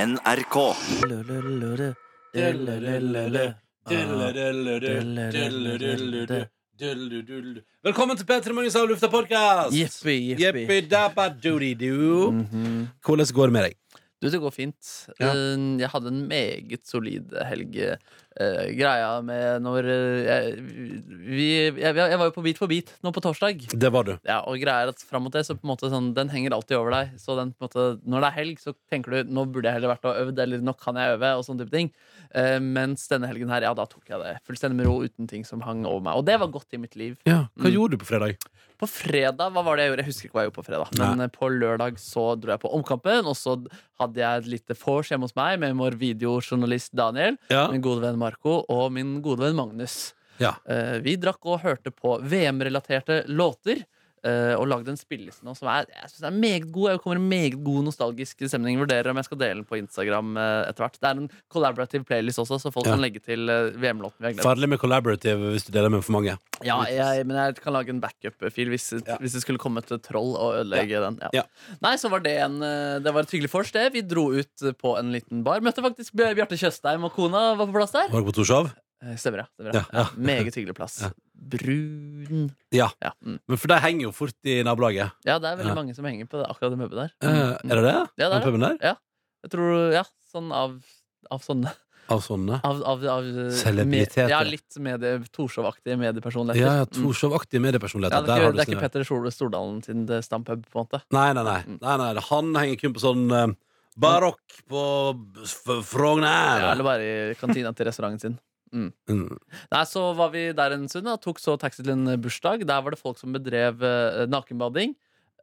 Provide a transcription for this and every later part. NRK. Velkommen til P3 Morgens av lufta podcast Jippi, jippi. Jippi dabba doody doo Mhm. Hvordan går det med deg? Du, det går fint. Ja. Eh, Jeg hadde en meget solid helg. Eh, Greia med når eh, jeg, vi, jeg, jeg var jo på Beat for beat nå på torsdag. Det var du Ja, og greier at fram mot det, så på en måte sånn, den henger alltid over deg. Så den, på en måte, når det er helg, så tenker du nå burde jeg heller vært og øvd, eller nå kan jeg øve, og sånn type ting. Eh, mens denne helgen her, ja, da tok jeg det fullstendig med ro, uten ting som hang over meg. Og det var godt i mitt liv. Ja, hva Mm. gjorde du på fredag? På fredag, hva var det jeg gjorde? Jeg husker ikke hva jeg gjorde på fredag. Nei. Men eh, på lørdag så dro jeg på Omkampen, og så hadde jeg et lite vors hjemme hos meg med vår videojournalist Daniel, Ja, min gode venn Marco og min gode venn Magnus. ja. Eh, vi drakk og hørte på VM-relaterte låter. eh, og lagde en spilleliste nå som er, jeg synes er meget god. Jeg kommer i meget god nostalgisk stemning. Vurderer om jeg skal dele den på Instagram eh, etter hvert. Det er en collaborative playlist også, så folk Ja. kan legge til eh, VM-låten vi har glemt. Farlig med collaborative hvis du deler med for mange Ja, jeg, men jeg kan lage en backup-fil hvis, Ja. hvis det skulle komme et troll og ødelegge den. Ja. Ja. Nei, så var det en eh, Det var et hyggelig vors, det. Vi dro ut eh, på en liten bar. Møtte faktisk Bj- Bjarte Tjøstheim og kona var på plass der. Var du på Torshov? Eh, Stemmer, ja. Stemmer, Ja, ja. ja. Ja, meget hyggelig plass. Ja. Brun Ja, Ja, mm. men for det henger jo fort i nabolaget ja det er veldig Ja. mange som henger på det, akkurat det møbbelet der. Eh, Mm. Er det det? Ja, det er Den puben der? Jeg tror, ja, sånn av av sånne Av sånne av, av, av eh, Celebriteter. med- Ja, litt medie, Torshov-aktige mediepersonligheter. Ja, ja, Mm. Torshov-aktige ja, mediepersonligheter det Der er ikke, har du det er ikke sine. Petter Sol- Stordalen sin eh, stampub, på en måte. Nei, nei, nei, Mm. nei, nei. Han henger kun på sånn eh, Barokk på F- Frogner Ja, eller bare i kantina til restauranten sin. Mm. Nei, Så var vi der en stund og tok så taxi til en bursdag. Der var det folk som bedrev eh, nakenbading.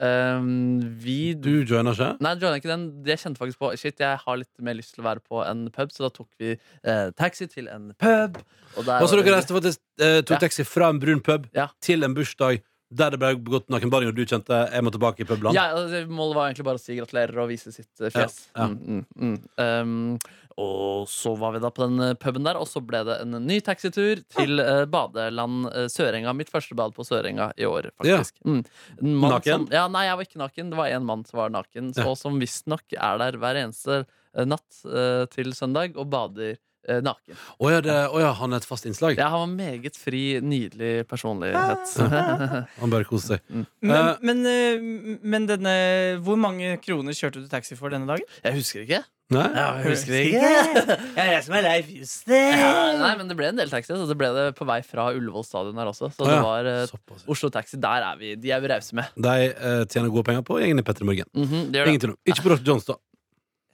Um, vi Du joiner ikke? Nei, joina ikke den. Jeg kjente faktisk på Shit, jeg har litt mer lyst til å være på en pub, så da tok vi eh, taxi til en pub. Og der Og så var dere det- reiste faktisk eh, to Ja. taxi fra en brun pub Ja. til en bursdag der det ble begått nakenbading, og du kjente jeg må tilbake i publand. ja, altså, Målet var egentlig bare å si gratulerer og vise sitt eh, fjes. Ja, ja. Mm, mm, mm. Um, og så var vi da på den eh, puben der, og så ble det en ny taxitur til eh, badeland eh, Sørenga. Mitt første bad på Sørenga i år, faktisk. Mm. En mann Naken? Som, ja, nei, jeg var ikke naken. Det var én mann som var naken, Ja. og som visstnok er der hver eneste eh, natt eh, til søndag og bader eh, naken. Å ja, det- å ja, han er et fast innslag. Ja, han var meget fri, nydelig personlighet. Han bare koser seg. Eh. Men, men, eh, men denne Hvor mange kroner kjørte du taxi for denne dagen? Jeg husker ikke. Nei? jeg husker ikke. Jeg er jeg som er Leif Juster. Nei, men det ble en del taxi, så det ble det på vei fra Ullevål stadion her også. Så Å det ja, var eh, såpass. Oslo Taxi, der er vi. De er vi rause med. De eh, tjener gode penger på gjengen i Petter Morgen. Mhm, det gjør Ingen det. tvil om. Ikke på Dr. Johns, da.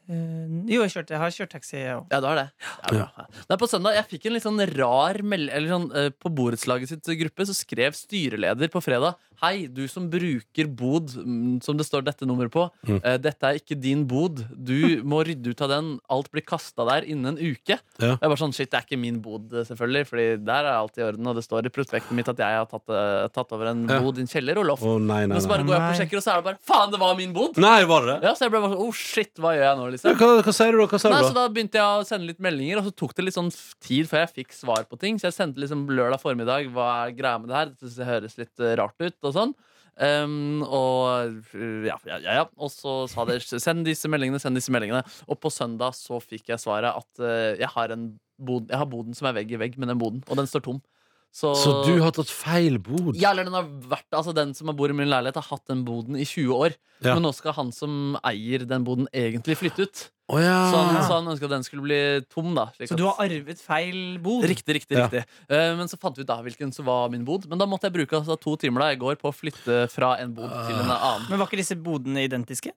Eh, Jo, jeg, kjørte, jeg har kjørt taxi, jeg òg. Ja, du har det. Ja, bra. Nei, på søndag jeg fikk en litt sånn rar melding Eller sånn, eh, På borettslaget sitt gruppe så skrev styreleder på fredag Hei, du som bruker bod, mm, som det står dette nummeret på, Mm. eh, dette er ikke din bod. Du må rydde ut av den. Alt blir kasta der innen en uke. Ja. Og Jeg bare sånn, shit, Det er ikke min bod, eh, selvfølgelig, Fordi der er alt i orden. Og det står i prospektet mitt at jeg har tatt, eh, tatt over en Ja. bod i en kjeller og loft. Å nei, nei, Men så nei. bare går jeg på og Nei. sjekker, og så er det bare Faen, det var min bod! Nei, var det det? Ja, så jeg ble bare sånn, oh shit, hva gjør jeg nå, Ja, liksom? Hva, hva sier du, da? Hva sier Nei, du så altså, da da? begynte jeg å sende litt meldinger, og så tok det litt sånn f- tid før jeg fikk svar på ting. Så jeg sendte liksom lørdag formiddag, hva er greia med det her? Dette høres litt eh, rart ut, og sånn. Ehm, og eh, ja, ja, ja, ja. Og så sa de send disse meldingene, send disse meldingene. Og på søndag så fikk jeg svaret at eh, jeg har en bod, jeg har boden som er vegg i vegg med den boden, og den står tom. Så, Så du har tatt feil bod? ja, eller den har vært, altså den som har bor i min leilighet har hatt den boden i 20 år Ja. Men nå skal han som eier den boden egentlig flytte ut Å ja. Så han, Sånn, så han ønsker at den skulle bli tom da slik Så at- du har arvet feil bod? Riktig, riktig, Ja. riktig Eh, Men så fant vi ut da hvilken som var min bod Men da måtte jeg bruke altså, to timer da i går på å flytte fra en bod til en annen Men var ikke disse bodene identiske?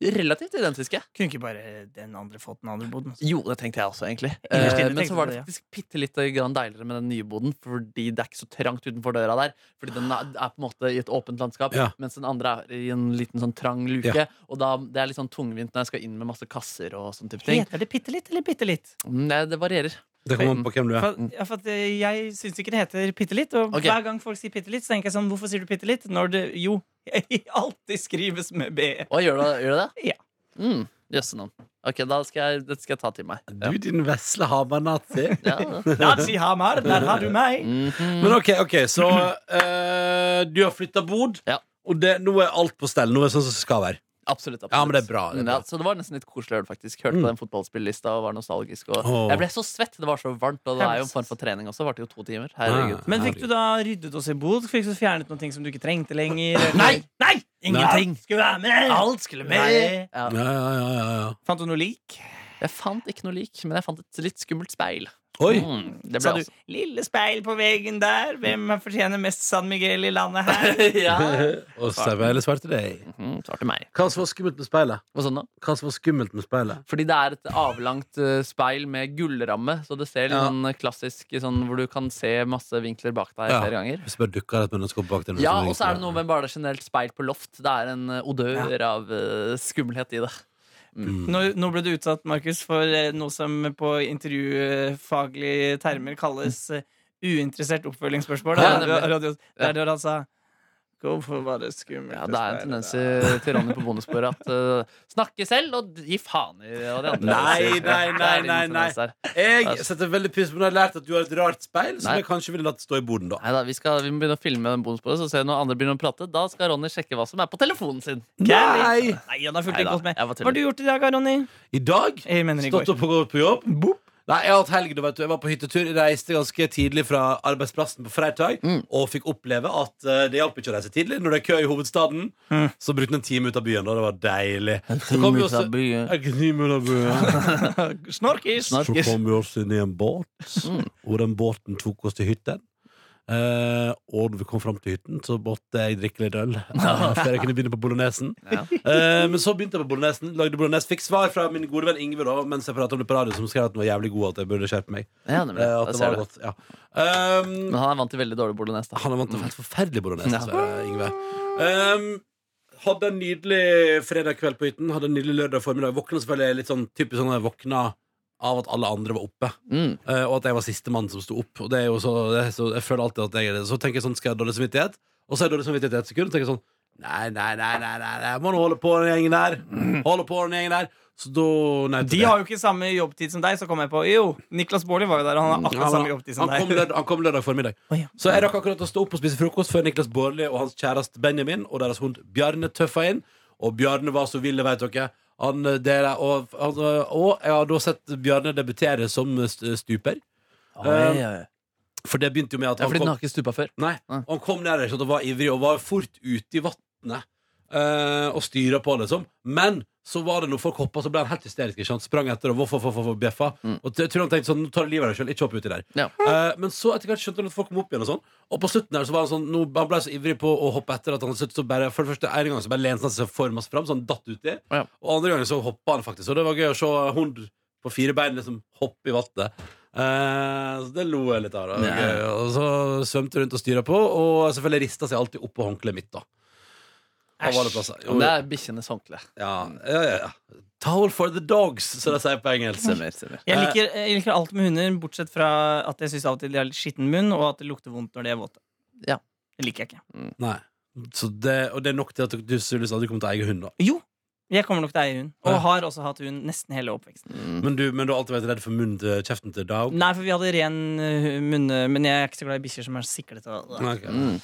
Relativt identiske Kunne ikke bare den andre fått den andre boden? Jo, det tenkte jeg også egentlig Innerst Eh, inne Men tenkte så var du det det, faktisk pittelitt grann deiligere med den nye boden Fordi det er ikke så trangt utenfor døra der Fordi den er er på en måte i et åpent landskap Ja. Mens den andre er i en liten sånn trang luke Og da, det er litt sånn tungvint når jeg skal inn med masse kasser og sånn type ting Heter det bitte litt eller bitte litt? Mm, Det, det varierer Det kommer an på hvem du er. For, ja, for at eh, jeg syns ikke det heter bitte litt. Og Ok. hver gang folk sier bitte litt, så tenker jeg sånn Hvorfor sier du bitte litt? Når det jo alltid skrives med B. Å, gjør du, gjør du det? Ja. mm, Jøsse navn Ok, da skal jeg, det skal jeg ta til meg Du, din vesle habernazi. ja, ja. Nazi Hamar, der har du meg! Mhm. Men ok, ok, så eh, du har flytta bod, Ja. og det, nå er alt på stell. Nå er det sånn som det skal være. Absolutt. absolutt. Ja, men det er bra, det er Mm, ja, bra. så det var nesten litt koselig øl, faktisk. Hørte Mm. på den fotballspillista og var nostalgisk. Og Åh. Jeg ble så svett. Det var så varmt, og det er jo en form for trening også. Varte jo to timer. Ah. Herregud. Men fikk du da ryddet oss i bod? Fikk du fjernet noen ting som du ikke trengte lenger? eller- Nei! Nei! Ingenting. Alt skulle være med! Alt skulle med! Nei. Ja. Ja, ja, ja, ja, ja. Fant du noe lik? Jeg fant ikke noe lik, men jeg fant et litt skummelt speil. Oi! Mm, det Sa ble du også. 'lille speil på veggen der'? Hvem fortjener mest San Miguel i landet her? ja. Og speilet svarte deg. Mhm, Svar til meg. Hva som var skummelt med speilet? Hva sånn da? Hva som var skummelt med speilet? Fordi det er et avlangt eh, speil med gullramme, så det ser litt Ja. sånn klassisk sånn hvor du kan se masse vinkler bak deg Ja. flere ganger. Hvis det bare dukker et menneske opp bak deg Ja, og så er sånn det noe med bare det generelt speil på loft. Det er en eh, odør av eh, skummelhet i det. Nå, nå ble du utsatt, Markus, for eh, noe som på intervjufaglige termer kalles eh, uinteressert oppfølgingsspørsmål. Ja, Det nemlig. er radio- det er der han sa 'hvorfor var det skummelt'? Ja, å Det er en speile tendens der?» i- til Ronny på bonussporet at eh, snakke selv og gi faen i hva de andre Nei, sier. nei, Det er nei, en nei, tendens der. Jeg setter veldig pris på når jeg har lært at du har et rart speil, som Altså- Nei. jeg kanskje ville latt stå i boden, da. Neida, vi, skal, vi må begynne å filme den bonussporet, så ser jeg når andre begynner å prate. Da skal Ronny sjekke hva som er på telefonen sin. Nei! Nei, han har fulgt Neida, ikke godt med. jeg var Hva har tuller. du gjort i dag, Ronny? I dag Jeg mener i går. Stått opp og gått på jobb. Nei, jeg har hatt helg, du vet du. Jeg var på hyttetur, reiste ganske tidlig fra arbeidsplassen på fredag og fikk oppleve at eh, det hjalp ikke å reise tidlig. Når det er kø i hovedstaden, så brukte jeg en time ut av byen, og det var deilig. Så kom vi også- En time ut av byen. Snorkis! Snart. Så kom vi også inn i en båt, og den båten tok oss til hytten. Eh, og når vi kom fram til hytten, så måtte jeg drikke litt øl. eh, Før jeg kunne begynne på bolognesen. Ja. Eh, men så begynte jeg på bolognesen. Lagde bolognese. Fikk svar fra min gode venn Ingve da, mens jeg pratet om det på radio, som skrev at den var jævlig god, og at jeg burde skjerpe meg. Ja, nemlig. Eh, Da at det ser var du. godt, ja. Ehm, Men han er vant til veldig dårlig bolognese. da. han er vant til helt forferdelig bolognese, Ja. dessverre, Ingve. Ehm, hadde en nydelig fredag kveld på hytten. Hadde en nydelig lørdag formiddag. Våkna selvfølgelig litt sånn typisk sånn at jeg våkna av at alle andre var oppe. Mm. Eh, og at jeg var sistemann som sto opp. Og det er jo så, det er så, jeg føler alltid at jeg er det. Så tenker jeg sånn, skal jeg ha dårlig samvittighet? Og så har jeg dårlig samvittighet i et sekund. Og tenker jeg sånn, nei, nei, nei, nei, nei, nei. jeg må nå holde på den gjengen der. Holde på den gjengen der. Så da nei, De har jo ikke samme jobbtid som deg, så kom jeg på Jo, Niklas Baarli var jo der, og han har Mm. Ja, akkurat men samme jobbtid som han, kom deg. lørdag, han kom lørdag formiddag. Å, ja. Så jeg rakk akkurat å stå opp og spise frokost før Niklas Baarli og hans kjæreste Benjamin og deres hund Bjarne tøffa inn. Og Bjarne var så vill, vet dere. Han, eh, det er- og, han, eh, og jeg har da sett Bjarne debutere som eh, st- stuper. Oi, oi, oi. For det begynte jo med at Eh, Ja, han fordi den kom, har ikke stupa før. nei, Nei. han kom ned der sånn, og var ivrig og var fort ute i vannet. eh, og styra på, liksom. Men så var det når folk hoppa, så ble han helt hysterisk. Ikke sant? Sprang etter og voff, voff, voff, voff, bjeffa. Mm. Og jeg tror han tenkte sånn, nå tar du livet av deg sjøl, ikke hopp uti der. Ja. Eh, men så etter hvert skjønte han at folk kom opp igjen, og sånn Og på slutten her så var han sånn nå, Han ble så ivrig på å hoppe etter at han til slutt så bare For det første en gang så bare lente han seg for masse fram, så han datt uti. Ja. Og andre gangen så hoppa han faktisk. Og det var gøy å se hund på fire bein liksom hoppe i vannet. Eh, så det lo jeg litt av. Det var Ja. gøy. Og så svømte rundt og styra på, og selvfølgelig rista seg alltid opp på håndkleet mitt, da. Da var det plasser. Jo, Men det er bikkjenes håndkle. ja, ja, ja, ja. Towel for the dogs, som de sier på engelsk. Stemmer, stemmer. Eh. Jeg liker, jeg liker alt med hunder, bortsett fra at jeg syns av og til de har litt skitten munn, og at det lukter vondt når de er våte. Ja. Det liker jeg ikke. Nei. Så det, og det er nok til at du sannsynligvis aldri kommer til å eie hund, da. Jo, jeg kommer nok til å eie hund, Ja. og har også hatt hund nesten hele oppveksten. Men du, men du har alltid vært redd for munnen til kjeften til dog? Mm. Nei, for vi hadde ren uh, munne, men jeg er ikke så glad i bikkjer som er siklete. og- Nei, ok. Mm.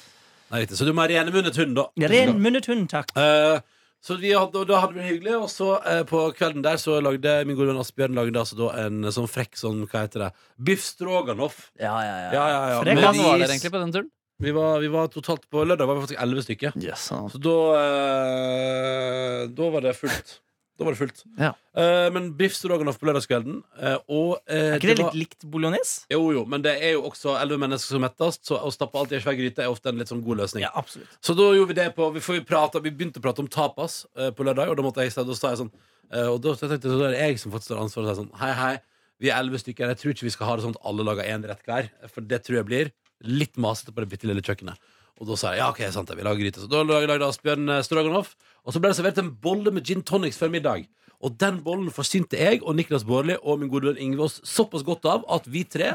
Nei, riktig. Så du må ha renmunnet hund, da. Renmunnet hund, takk. Eh, så vi hadde, og da hadde vi det hyggelig, og så eh, på kvelden der så lagde min gode venn Asbjørn lagde altså da en sånn frekk sånn, hva heter det, biff stroganoff. Ja, ja, ja. Ja, ja, ja. Frekk, altså. Hvor Med han mange var ris. dere egentlig på den turen? Vi var, vi var totalt på lørdag, var vi faktisk elleve stykker. Yes, han- Så da eh, Da var det fullt. Da var det fullt. Ja. Eh, men biff stroganoff på lørdagskvelden, eh, og eh, Er ikke det var- litt likt bolognese? Jo, jo, men det er jo også elleve mennesker som mettes, så å stappe alt i ei svær gryte er ofte en litt sånn god løsning. Ja, absolutt. Så da gjorde vi det på Vi, for vi, pratet, vi begynte å prate om tapas eh, på lørdag, og da måtte jeg si- da sa jeg sånn eh, Og da tenkte jeg så da er det jeg som faktisk har ansvaret og sier sånn Hei, hei, vi er elleve stykker. Jeg tror ikke vi skal ha det sånn at alle lager én rett hver, for det tror jeg blir litt masete på det bitte lille kjøkkenet. Og da sa jeg ja, ok, sant det, vi lager gryte. Så da lagde lagde Asbjørn eh, stroganoff, og så ble det servert en bolle med gin tonics før middag. Og den bollen forsynte jeg og Niklas Baarli og min gode venn Ingve oss såpass godt av at vi tre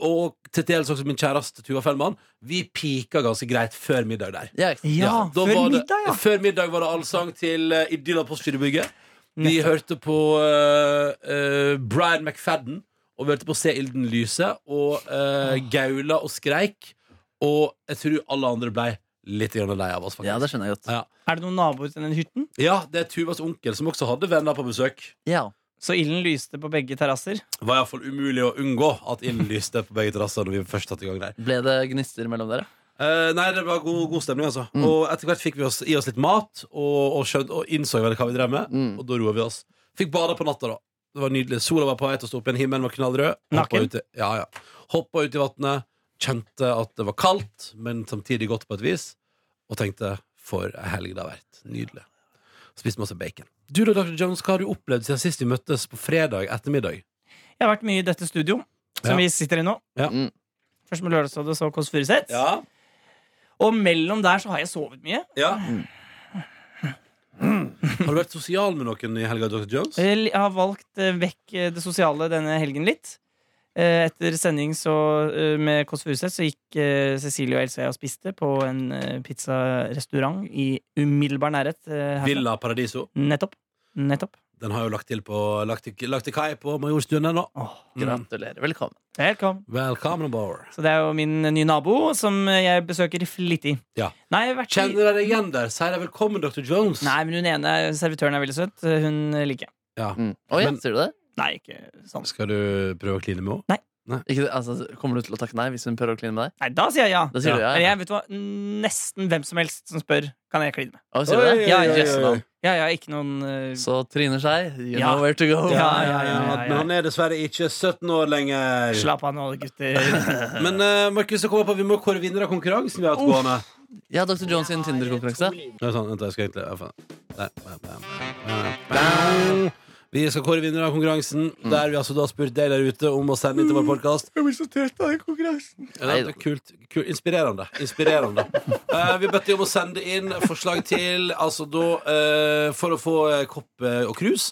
og til dels også min kjæreste Tuva Fellmann, vi pika ganske greit før middag der. Ja, ikke sant? Ja, da før var det, middag, ja. Før middag var det allsang til uh, Idylla postgirobygget. Vi Nettopp. hørte på eh, eh, Brian McFadden, og vi hørte på Se ilden lyse, og eh, gaula og skreik. Og jeg tror alle andre blei litt grann lei av oss, faktisk. Ja, det skjønner jeg godt. Ja. Er det noen naboer til den hytten? Ja, det er Tuvas onkel som også hadde venner på besøk. Ja. Så ilden lyste på begge terrasser. Var iallfall umulig å unngå at ilden lyste på begge terrasser når vi først satte i gang der. Ble det gnister mellom dere? Eh, nei, det var god, god stemning, altså. Og etter hvert fikk vi oss, i oss litt mat, og, og, skjønt, og innså vel hva vi drev med, Mm. og da roa vi oss. Fikk bada på natta, da. Det var nydelig. Sola var på vei til å stå opp igjen, himmelen var knallrød. Hoppa Naken? ut i- Ja, ja. Hoppa ut i vannet, kjente at det var kaldt, men samtidig godt på et vis, og tenkte for ei helg det har vært. Nydelig. Spiste masse bacon. Du da, Dr. Jones, hva har du opplevd siden sist vi møttes på fredag ettermiddag? Jeg har vært mye i dette studio, som Ja. vi sitter i nå. Ja. Mm. Først med Lørdagsrådet, så Kåss Furuseth. Og mellom der så har jeg sovet mye. ja. Har du vært sosial med noen i helga, Dr. Jones? Jeg har valgt eh, vekk eh, det sosiale denne helgen litt. Eh, Etter sending så, eh, med Kåss Furuseth så gikk eh, Cecilie og Else og jeg og spiste på en eh, pizzarestaurant i umiddelbar nærhet. eh, herfra. Villa Paradiso. Nettopp. Nettopp. Den har jo lagt til på Lagt til, lagt til kai på Majorstuen ennå. Åh, Mm. Gratulerer. Velkommen. Velkommen. Velkommen aboard. Så det er jo min eh, nye nabo, som eh, jeg besøker flittig. Ja. Nei, jeg har vært i... Kjenner dere igjen der? Sier deg velkommen, Dr. Jones. Nei, men hun ene servitøren er veldig søt. Hun liker jeg. Ja. Mm. Oi, Men- sier du det? Nei, ikke sånn. Skal du prøve å kline med henne? Ikke, det- altså, kommer du til å takke nei hvis hun prøver å kline med deg? Nei, da sier jeg ja. Da sier Ja. du Men ja. jeg vet du hva, nesten hvem som helst som spør, kan jeg kline med. Oi, sier du det? Oi, Ja, oi, oi, yes, oi. man. Ja, jeg har ikke noen eh, Så Trine Skei, you Ja. know where to go. Ja. Men han er dessverre ikke 17 år lenger. Slapp av nå, gutter. Men eh, Markus, jeg kommer på at vi må kåre vinner av konkurransen vi har hatt gående. Ja, Dr. Jones sin Tinder-konkurranse. Det er sånn, vent, jeg skal egentlig ja, faen. Der, bam, bam, bam, bam. Vi skal kåre vinner av konkurransen, Mm. der vi altså da har spurt deg der ute om å sende inn til vår podkast. Jeg blir så trett av den konkurransen. Ja, det er kult, kult. Inspirerende. Inspirerende. Eh, vi bøtte om å sende inn forslag til Altså da eh, For å få eh, kopp eh, og krus,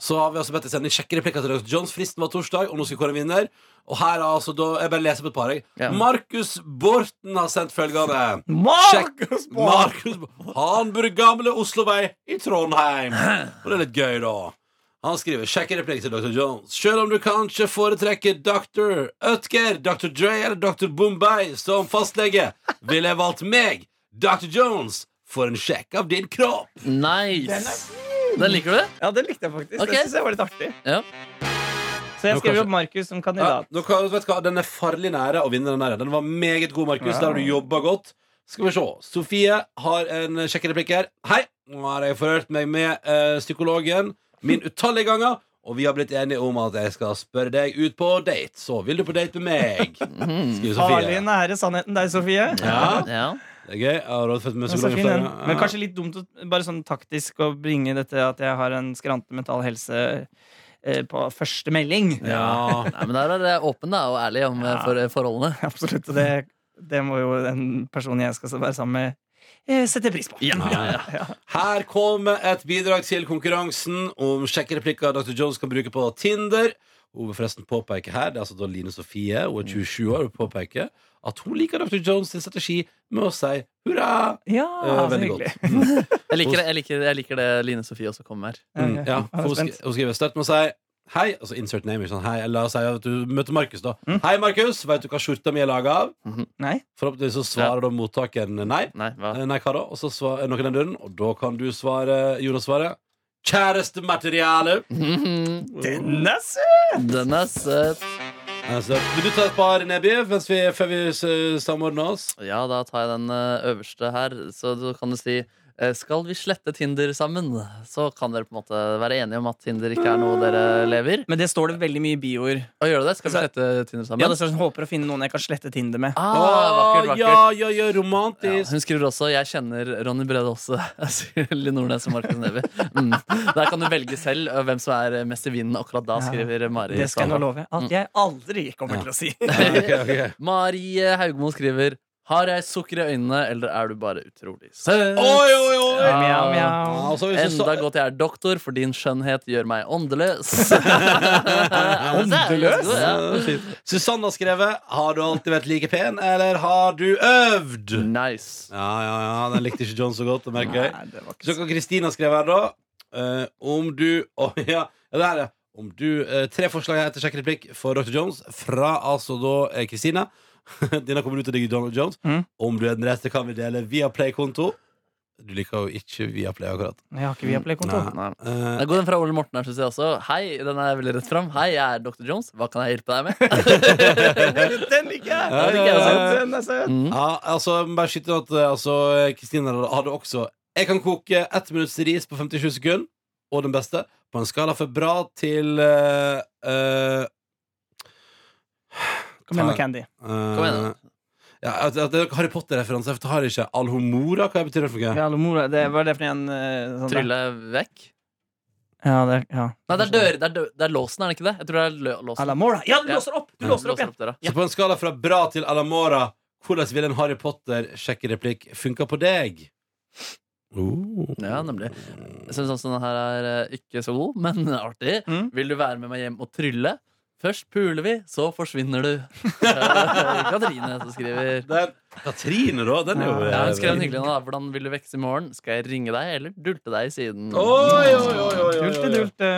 så har vi altså bedt deg sende inn sjekkereplikker til Dr. Johns. Fristen var torsdag, og nå skal vi kåre en vinner. Og her er altså da Jeg bare leser opp et par. jeg. Ja. Markus Borten har sendt følgende. Markus Borg! Markus Bo- Han bor i gamle Oslovei i Trondheim. Og det er litt gøy, da. Han skriver sjekk replikk til Dr. Jones. Selv om du kanskje foretrekker Dr. Utger, Dr. Dre eller Dr. Bombay som fastlege, ville jeg valgt meg, Dr. Jones, for en sjekk av din kropp. Nice! Den liker du? Ja, det likte jeg faktisk. Ok. Det synes jeg var litt artig. Ja. Så jeg Nå skrev kanskje- opp Markus som Ja, kandidat. nå kan- vet du hva, den er farlig nære å vinne den der. Den var meget god, Markus. Der har du jobba godt. Skal vi se. Sofie har en sjekkereplikk her. Hei! Nå har jeg forhørt meg med eh, psykologen min utallige ganger, og vi har blitt enige om at jeg skal spørre deg ut på date. Så vil du på date med meg? Skriver Mhm. Farlig Sofie. nære sannheten der, Sofie. Ja. ja. Det er gøy. Jeg har rådført meg med Men så psykologen fin den. før. ja. Men kanskje litt dumt å, bare sånn taktisk å bringe dette at jeg har en skrante mental helse eh, på første melding. Ja. Nei, men der er jeg åpen da, og ærlig om eh, for, forholdene. Absolutt. Og det, det må jo den personen jeg skal være sammen med, eh, sette pris på. Her kommer et bidrag til konkurransen om sjekkereplikker Dr. Jones kan bruke på Tinder. Hun vil forresten påpeke her, det er altså da Line Sofie, hun er 27 år, og påpeker at hun liker Dr. Jones sin strategi med å si hurra. Ja, Eh, så veldig hyggelig. godt. Jeg liker, det, jeg, liker, jeg liker det Line Sofie også kommer med her. Mm, Ok. ja, Jeg er for hun, spent. skri- hun skriver støtt med å si hei. Altså insert name. Sånn, hei, eller la oss si at du møter Markus, da. Mm. Hei, Markus, veit du hva skjorta mi er laga av? Nei? Forhåpentligvis så svarer da mottakeren nei. Nei, hva? Eh, Nei, hva da? Og så svarer noen den døren, og da kan du svare, Jonas svare, kjærestemateriale. Den er søt! Den er søt. Altså, vil du ta et par Nebby mens vi, før vi s- samordner oss? Ja, da tar jeg den eh, øverste her. Så da kan du si eh, Skal vi slette Tinder sammen? Så kan dere på en måte være enige om at Tinder ikke er noe dere lever. Men det står det veldig mye i bioer. Og gjør du det? Skal vi slette Tinder sammen? Ja, det står sånn, håper å finne noen jeg kan slette Tinder med. ah, Åh, vakkert, vakkert. Ja, ja, ja, Ja, romantisk. hun skriver også 'Jeg kjenner Ronny Brede også'. sier Linn Nordnes og Markus Neby. Mm. Der kan du velge selv eh, hvem som er mest i vinden akkurat da, skriver Mari. Det skal jeg nå Svalbard. love at jeg aldri kommer til å si. ok, ok. Mari Haugmo skriver 'Har jeg sukker i øynene, eller er du bare utrolig søt?' Oi, oi, oi! Ja. Ja, Mjau, mjau. altså, hvis du Enda sa- godt jeg er doktor, for din skjønnhet gjør meg åndeløs. Åndeløs? Ja. Ja, fint. Susanne har skrevet Har du alltid vært like pen, eller har du øvd? Nice. Ja, ja, ja, den likte ikke John så godt, det merker jeg Nei, det var ikke Så hva Kristina skrev her da eh, Om du Å, ja, ja, det er det Om du eh, Tre forslag her til sjekkereplikk for Dr. Jones Fra altså da eh, Kristina Denne kommer ut til deg, Donald Jones. Mm. Om du er den rette, kan vi dele via Play-konto. Du liker jo ikke via Play, akkurat. sånn. Jeg har ikke Viaplay-konto. Nei. Nei. Eh, Det går den fra Ole Morten her, synes jeg også. Hei, den er veldig rett frem. Hei, jeg er Dr. Jones. Hva kan jeg hjelpe deg med? Den liker jeg! Ja, ja, ja. Den er søt. Mm. Eh, ja, altså, jeg må bare skyte inn at eh, altså, Kristine hadde også Jeg kan koke ett minutts ris på 57 sekunder, og den beste, på en skala fra bra til eh, eh, Kom igjen med Candy. Kom igjen, da. Eh, Ja, at, at det er Harry Potter-referanse. Jeg har ikke Alhomora. Hva betyr det for noe? Gallimora, det var det for en eh, sånn Trylle vekk. Ja, det, ja. Nei, det er dør, det er, dør, det er låsen, er det ikke det? Jeg tror det er lø låsen. Alamora. Ja, du Ja. låser opp! Du låser opp igjen. døra. Så på en skala fra bra til Alamora, hvordan vil en Harry Potter-sjekkereplikk funka på deg? Oh. Ja, nemlig. Jeg syns også den her er eh, ikke så god, men artig. Mm. Vil du være med meg hjem og trylle? Først puler vi, så forsvinner du. Eh, Katrine som skriver. Den, Katrine, da? Den er jo Ja, Eh, hun skrev en hyggelig en. da. Hvordan vil du vekse i morgen? Skal jeg ringe deg, eller dulte deg i siden? Oi, oi, oi, oi, oi, oi. Dulte, dulte.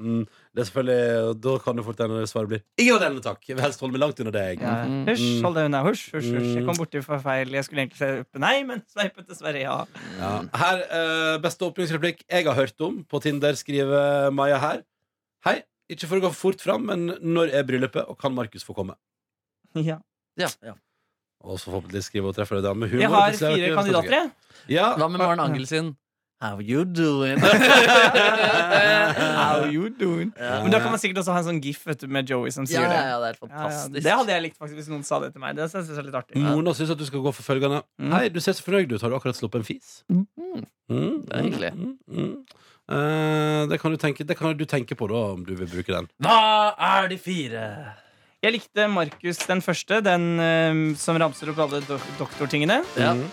Mm, det er selvfølgelig og Da kan det fort hende svaret blir ingen av delene, takk. Jeg vil helst holde meg langt unna deg. Ja. Mm. Hysj, hold deg unna. Hysj, hysj, hysj. Jeg Mm. kom borti for feil. Jeg skulle egentlig sveipe nei, men sveipet dessverre ja. Ja. Her, eh, Beste åpningsreplikk jeg har hørt om på Tinder, skriver Maja her. Hei. Ikke for å gå for fort fram, men når er bryllupet, og kan Markus få komme? ja. Ja, ja. Og så forhåpentlig skrive og treffe en dame. Humor, Jeg har det er ikke- fire kandidater, jeg. Ja, Hva med Maren Angel sin? How you doing? How you doing? sånn. Ja. Men da kan man sikkert også ha en sånn gif vet du, med Joey som sier Ja, ja, ja, det. det er helt Ja, ja. fantastisk. Det hadde jeg likt faktisk hvis noen sa det til meg. Det synes jeg er litt artig Mona syns at du skal gå for følgende. Mm. Hei, du ser så fornøyd ut. Har du akkurat sluppet en fis? Mm. Mm, Det er hyggelig. mm, mm. Eh, det, kan du tenke, det kan du tenke på, da, om du vil bruke den. Hva er de fire? Jeg likte Markus den første, den eh, som ramser opp alle do doktortingene. Ja. Mm.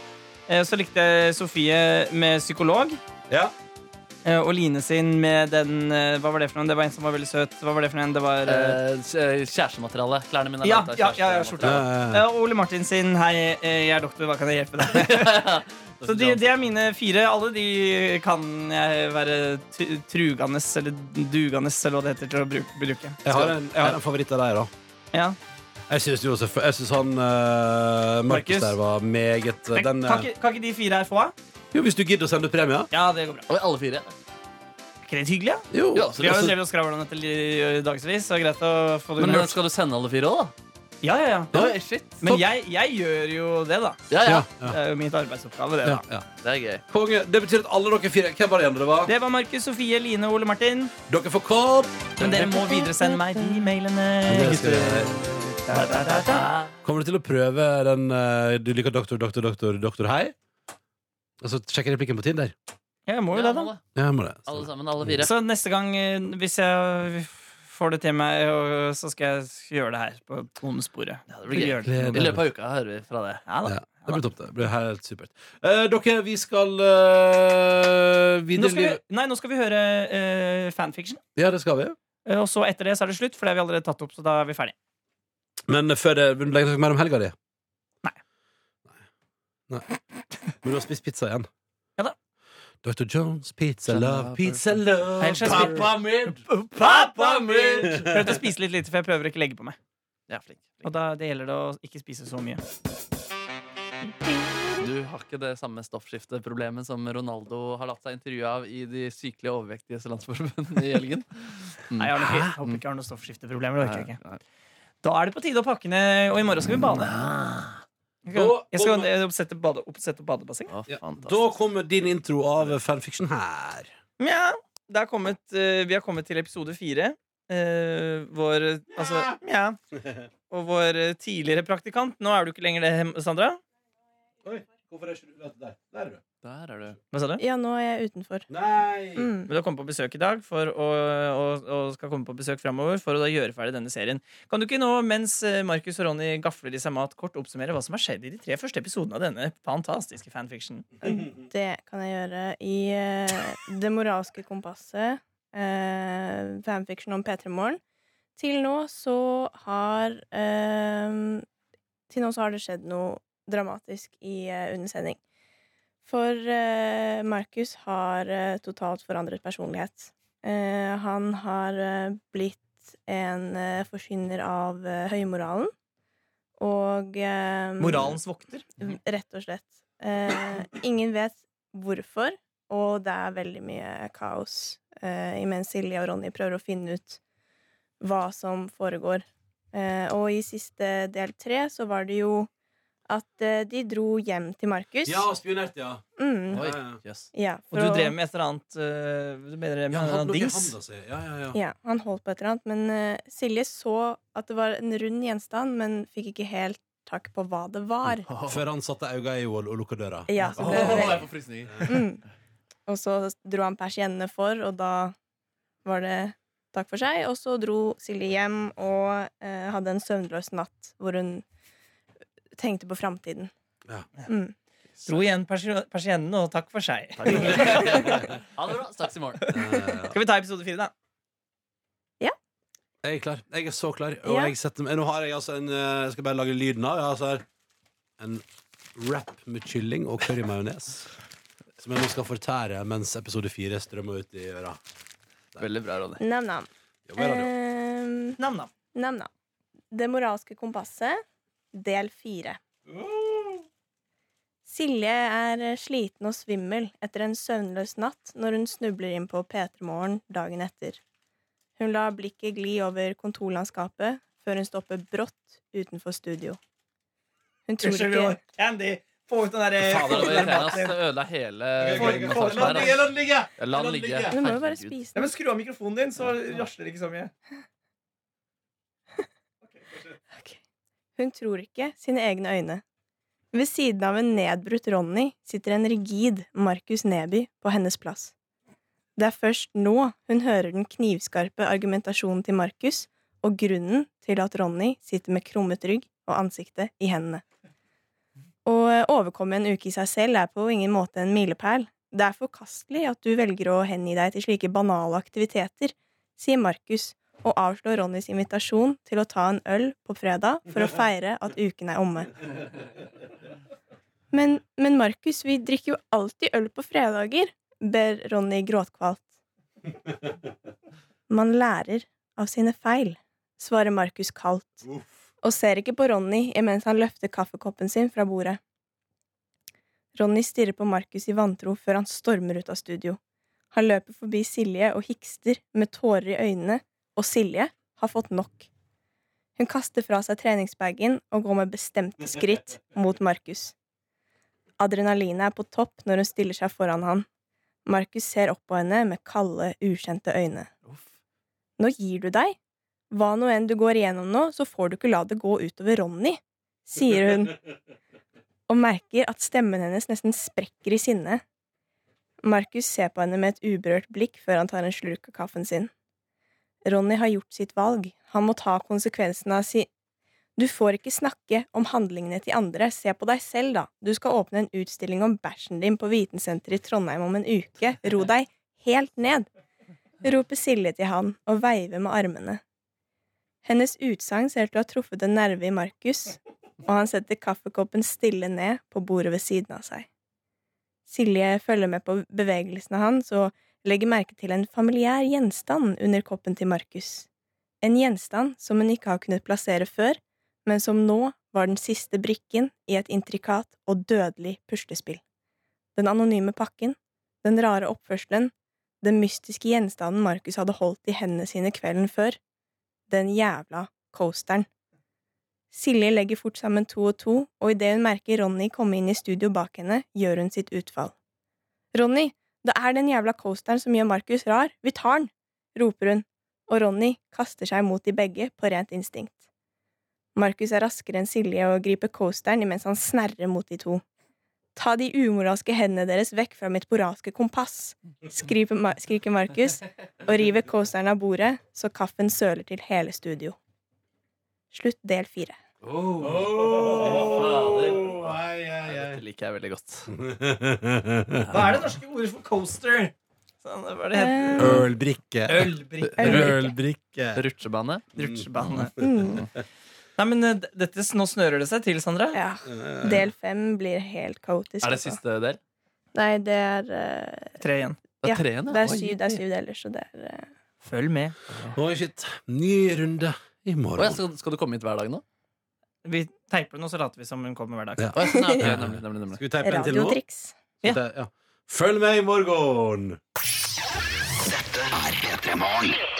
Eh, så likte jeg Sofie med psykolog. Ja. eh, og Line sin med den eh, Hva var det for noen? Det var en som var veldig søt. Hva var det for en? Det var eh, Eh, s- eh, Kjærestemateriale. Klærne mine er Ja, laget av ja, ja, ja, kjærestemateriale. skjorta. eh, og Ole Martin sin. Hei, eh, jeg er doktor, hva kan jeg hjelpe deg med? Så det, det er mine fire. Alle de kan jeg være tu- trugende eller dugende eller hva det heter til å bruke. bruke. Jeg har en, jeg har en favoritt av deg, da. Ja. Jeg syns jo også Jeg synes han eh, Markus Markus. der var meget eh, Men, den, kan, eh, ikke, kan ikke de fire her få av? Jo, hvis du gidder å sende premie. Ja, det går bra. Oi, alle fire. Er ikke det litt hyggelig? Ja? Jo. Ja, så det Vi er har jo også- drevet og skravla om dette i dagevis, så det er greit å få det Men unnagjort. eh, skal du sende alle fire òg, da? Ja, ja, ja. Oi, shit. Men jeg, jeg gjør jo det, da. Ja, ja. Ja, ja, Det er jo mitt arbeidsoppgave, det. ja, da. ja. Det er gøy. Konge. Det betyr at alle dere fire Hvem var det igjen det var? Det var Markus, Sofie, Line og Ole Martin. Dere får kopp. Men dere må videresende meg de mailene. Det skal gutter. jeg- Da, da, da, da. Kommer du til å prøve den eh, du liker doktor, doktor, doktor, doktor hei? Og så sjekker replikken på Tinder. Jeg må jo Ja, det, da. alle, Ja, jeg må det. alle sammen, alle fire. Så neste gang, eh, hvis jeg får det til meg, og- så skal jeg gjøre det her på bondesporet. Ja, det blir gøy. Gleder I løpet av uka hører vi fra det. Ja, da. Ja, det blir topp, det. det blir helt supert. Eh, dere, vi skal eh, Nå videre i skal vi, livet. nei, nå skal vi høre eh, fanfiction. Ja, det skal vi. Eh, Og så etter det så er det slutt, for det har vi allerede tatt opp. Så da er vi ferdig. Men eh, før det, vil du legge dere mer om helga di? Nei. Nei. Men du har spist pizza igjen? Ja da. Dr. Jones, Pizza pizza love, love, pizza love Hei, Chelsea. mid! Prøvde å spise litt lite, for jeg prøver å ikke legge på meg. Ja, flink. Og da det gjelder det å ikke spise så mye. Du har ikke det samme stoffskifteproblemet som Ronaldo har latt seg intervjue av i de sykelige overvektiges landsforbund i helgen. Mm. Nei, jeg har nok ikke, håper ikke jeg har noen stoffskifteproblemer. Det orker jeg ikke. Nei, nei. Da er det på tide å pakke ned, og i morgen skal vi bade. Jeg skal, Da- jeg skal eh, oppsette, bade, oppsette badebasseng. Å, Ja, Da fantastisk. kommer din intro av fanfiction her. Mjau. Det er kommet, eh, vi har kommet til episode fire. Eh, vår eh, Altså, mjau. Og vår eh, tidligere praktikant. Nå er du ikke lenger det, Hem- Sandra. Oi, hvorfor er ikke du der? Der er du. Der er du. Hva sa du? Ja, nå er jeg utenfor. Nei! Mm. Men du har kommet på besøk i dag for å, og, og skal komme på besøk fremover for å da gjøre ferdig denne serien. Kan du ikke nå, mens eh, Markus og Ronny gafler i seg mat, kort oppsummere hva som har skjedd i de tre første episodene av denne fantastiske fanfiction? Det kan jeg gjøre i eh, Det moralske kompasset, eh, fanfiction om P3 Morgen. Til nå så har eh, Til nå så har det skjedd noe dramatisk i eh, undersending. For eh, Markus har eh, totalt forandret personlighet. Eh, han har eh, blitt en eh, forsyner av eh, høymoralen. Og eh, Moralens vokter. Rett og slett. Eh, ingen vet hvorfor, og det er veldig mye kaos eh, imens Silje og Ronny prøver å finne ut hva som foregår. Eh, og i siste del tre så var det jo at eh, de dro hjem til Markus. Ja, spionert, ja. Mm, Oi, Ja, ja. yes. ja Og for du å- drev med et eller annet øh, Du mener det med Ja, en eller han annen hadde noe i dings? handa si. Ja, ja, ja. Ja, han holdt på et eller annet. Men eh, Silje så at det var en rund gjenstand, men fikk ikke helt tak på hva det var. Før han satte øynene i henne og lukka døra. Ja, så Åh, det jeg får frysninger. Mm. Og så dro han persiennene for, og da var det takk for seg. Og så dro Silje hjem og eh, hadde en søvnløs natt hvor hun tenkte på framtiden. Ja. Mm. Dro igjen persi- persiennene, og takk for seg. Ha det bra. Snakkes i morgen. Eh, Skal vi ta episode fire, da? Jeg er klar. Jeg er så klar. Og Ja. jeg setter meg Nå har jeg altså en eh, Jeg skal bare lage lyden av. Jeg har altså her en wrap med kylling og currymajones. Som jeg nå skal fortære mens episode fire strømmer ut i øra. Veldig bra, Ronny. Nam-nam. Jobber i radio. Ehm, Nam-nam. Nam-nam. Det moralske kompasset, del fire. Silje er sliten og svimmel etter en søvnløs natt når hun snubler inn på P3morgen dagen etter. Hun lar blikket gli over kontorlandskapet før hun stopper brått utenfor studio. Hun tror Unnskyld, ikke Bjørn. Andy, få ut den eh, derre Fader, det var irriterende. ass. Det ødela hele massasjen La den ligge! La den der. ass. ligge! La den ligge. Du må jo bare Herregud. spise Nei, den. men Skru av mikrofonen din, så rasler det ikke så mye. Ok. Hun tror ikke sine egne øyne. Ved siden av en nedbrutt Ronny sitter en rigid Markus Neby på hennes plass. Det er først nå hun hører den knivskarpe argumentasjonen til Markus og grunnen til at Ronny sitter med krummet rygg og ansiktet i hendene. Å overkomme en uke i seg selv er på ingen måte en milepæl. Det er forkastelig at du velger å hengi deg til slike banale aktiviteter, sier Markus og avslår Ronnys invitasjon til å ta en øl på fredag for å feire at uken er omme. Men, men Markus, vi drikker jo alltid øl på fredager, ber Ronny gråtkvalt. Man lærer av sine feil, svarer Markus kaldt, og ser ikke på Ronny imens han løfter kaffekoppen sin fra bordet. Ronny stirrer på Markus i vantro før han stormer ut av studio. Han løper forbi Silje og hikster med tårer i øynene og Silje har fått nok. Hun kaster fra seg treningsbagen og går med bestemte skritt mot Markus. Adrenalinet er på topp når hun stiller seg foran han. Markus ser opp på henne med kalde, ukjente øyne. Nå gir du deg. Hva nå enn du går igjennom nå, så får du ikke la det gå utover Ronny, sier hun, og merker at stemmen hennes nesten sprekker i sinne. Markus ser på henne med et uberørt blikk før han tar en slurk av kaffen sin. Ronny har gjort sitt valg. Han må ta konsekvensen av si... Du får ikke snakke om handlingene til andre. Se på deg selv, da. Du skal åpne en utstilling om bæsjen din på Vitensenteret i Trondheim om en uke. Ro deg helt ned! roper Silje til han og veiver med armene. Hennes utsagn ser ut til å ha truffet en nerve i Markus, og han setter kaffekoppen stille ned på bordet ved siden av seg. Silje følger med på bevegelsene hans og legger merke til en familiær gjenstand under koppen til Markus. En gjenstand som hun ikke har kunnet plassere før, men som nå var den siste brikken i et intrikat og dødelig puslespill. Den anonyme pakken, den rare oppførselen, den mystiske gjenstanden Markus hadde holdt i hendene sine kvelden før, den jævla coasteren. Silje legger fort sammen to og to, og idet hun merker Ronny komme inn i studio bak henne, gjør hun sitt utfall. Ronny, det er den jævla coasteren som gjør Markus rar. Vi tar den! roper hun, og Ronny kaster seg mot de begge på rent instinkt. Markus er raskere enn Silje og griper coasteren imens han snerrer mot de to. Ta de umoralske hendene deres vekk fra mitt boralske kompass, skriker Ma- skriker Markus og river coasteren av bordet så kaffen søler til hele studio. Slutt del fire. Fader. Ai, ai, ai. Dette liker jeg veldig godt. Hva er det norske ordet for coaster? Sånn, hva er det heter? Eh, Ølbrikke. Ølbrikke. eh, Ølbrikke. Rutsjebane. Rutsjebane. mm, Nei, men eh, d- dette, nå snører det seg til, Sandra. ja. Del fem blir helt kaotisk. Er det altså. siste del? Nei, det er eh, Tre igjen. Det Ja, er tre igjen, Det ja. er syv, det er syv deler, så det er eh, Følg med. Eh. Oi, shit. Ny runde Å, i ja, morgen. skal, skal du komme hit hver dag nå? Vi teiper den, og så later vi som hun kommer hver dag. Ja. Å, ja, sånn, ja, ok, nemlig, nemlig, nemlig. Skal vi teipe en til nå? Radiotriks. Skal vi ta- ja. Følg med i morgen! Dette er P3 Morgen.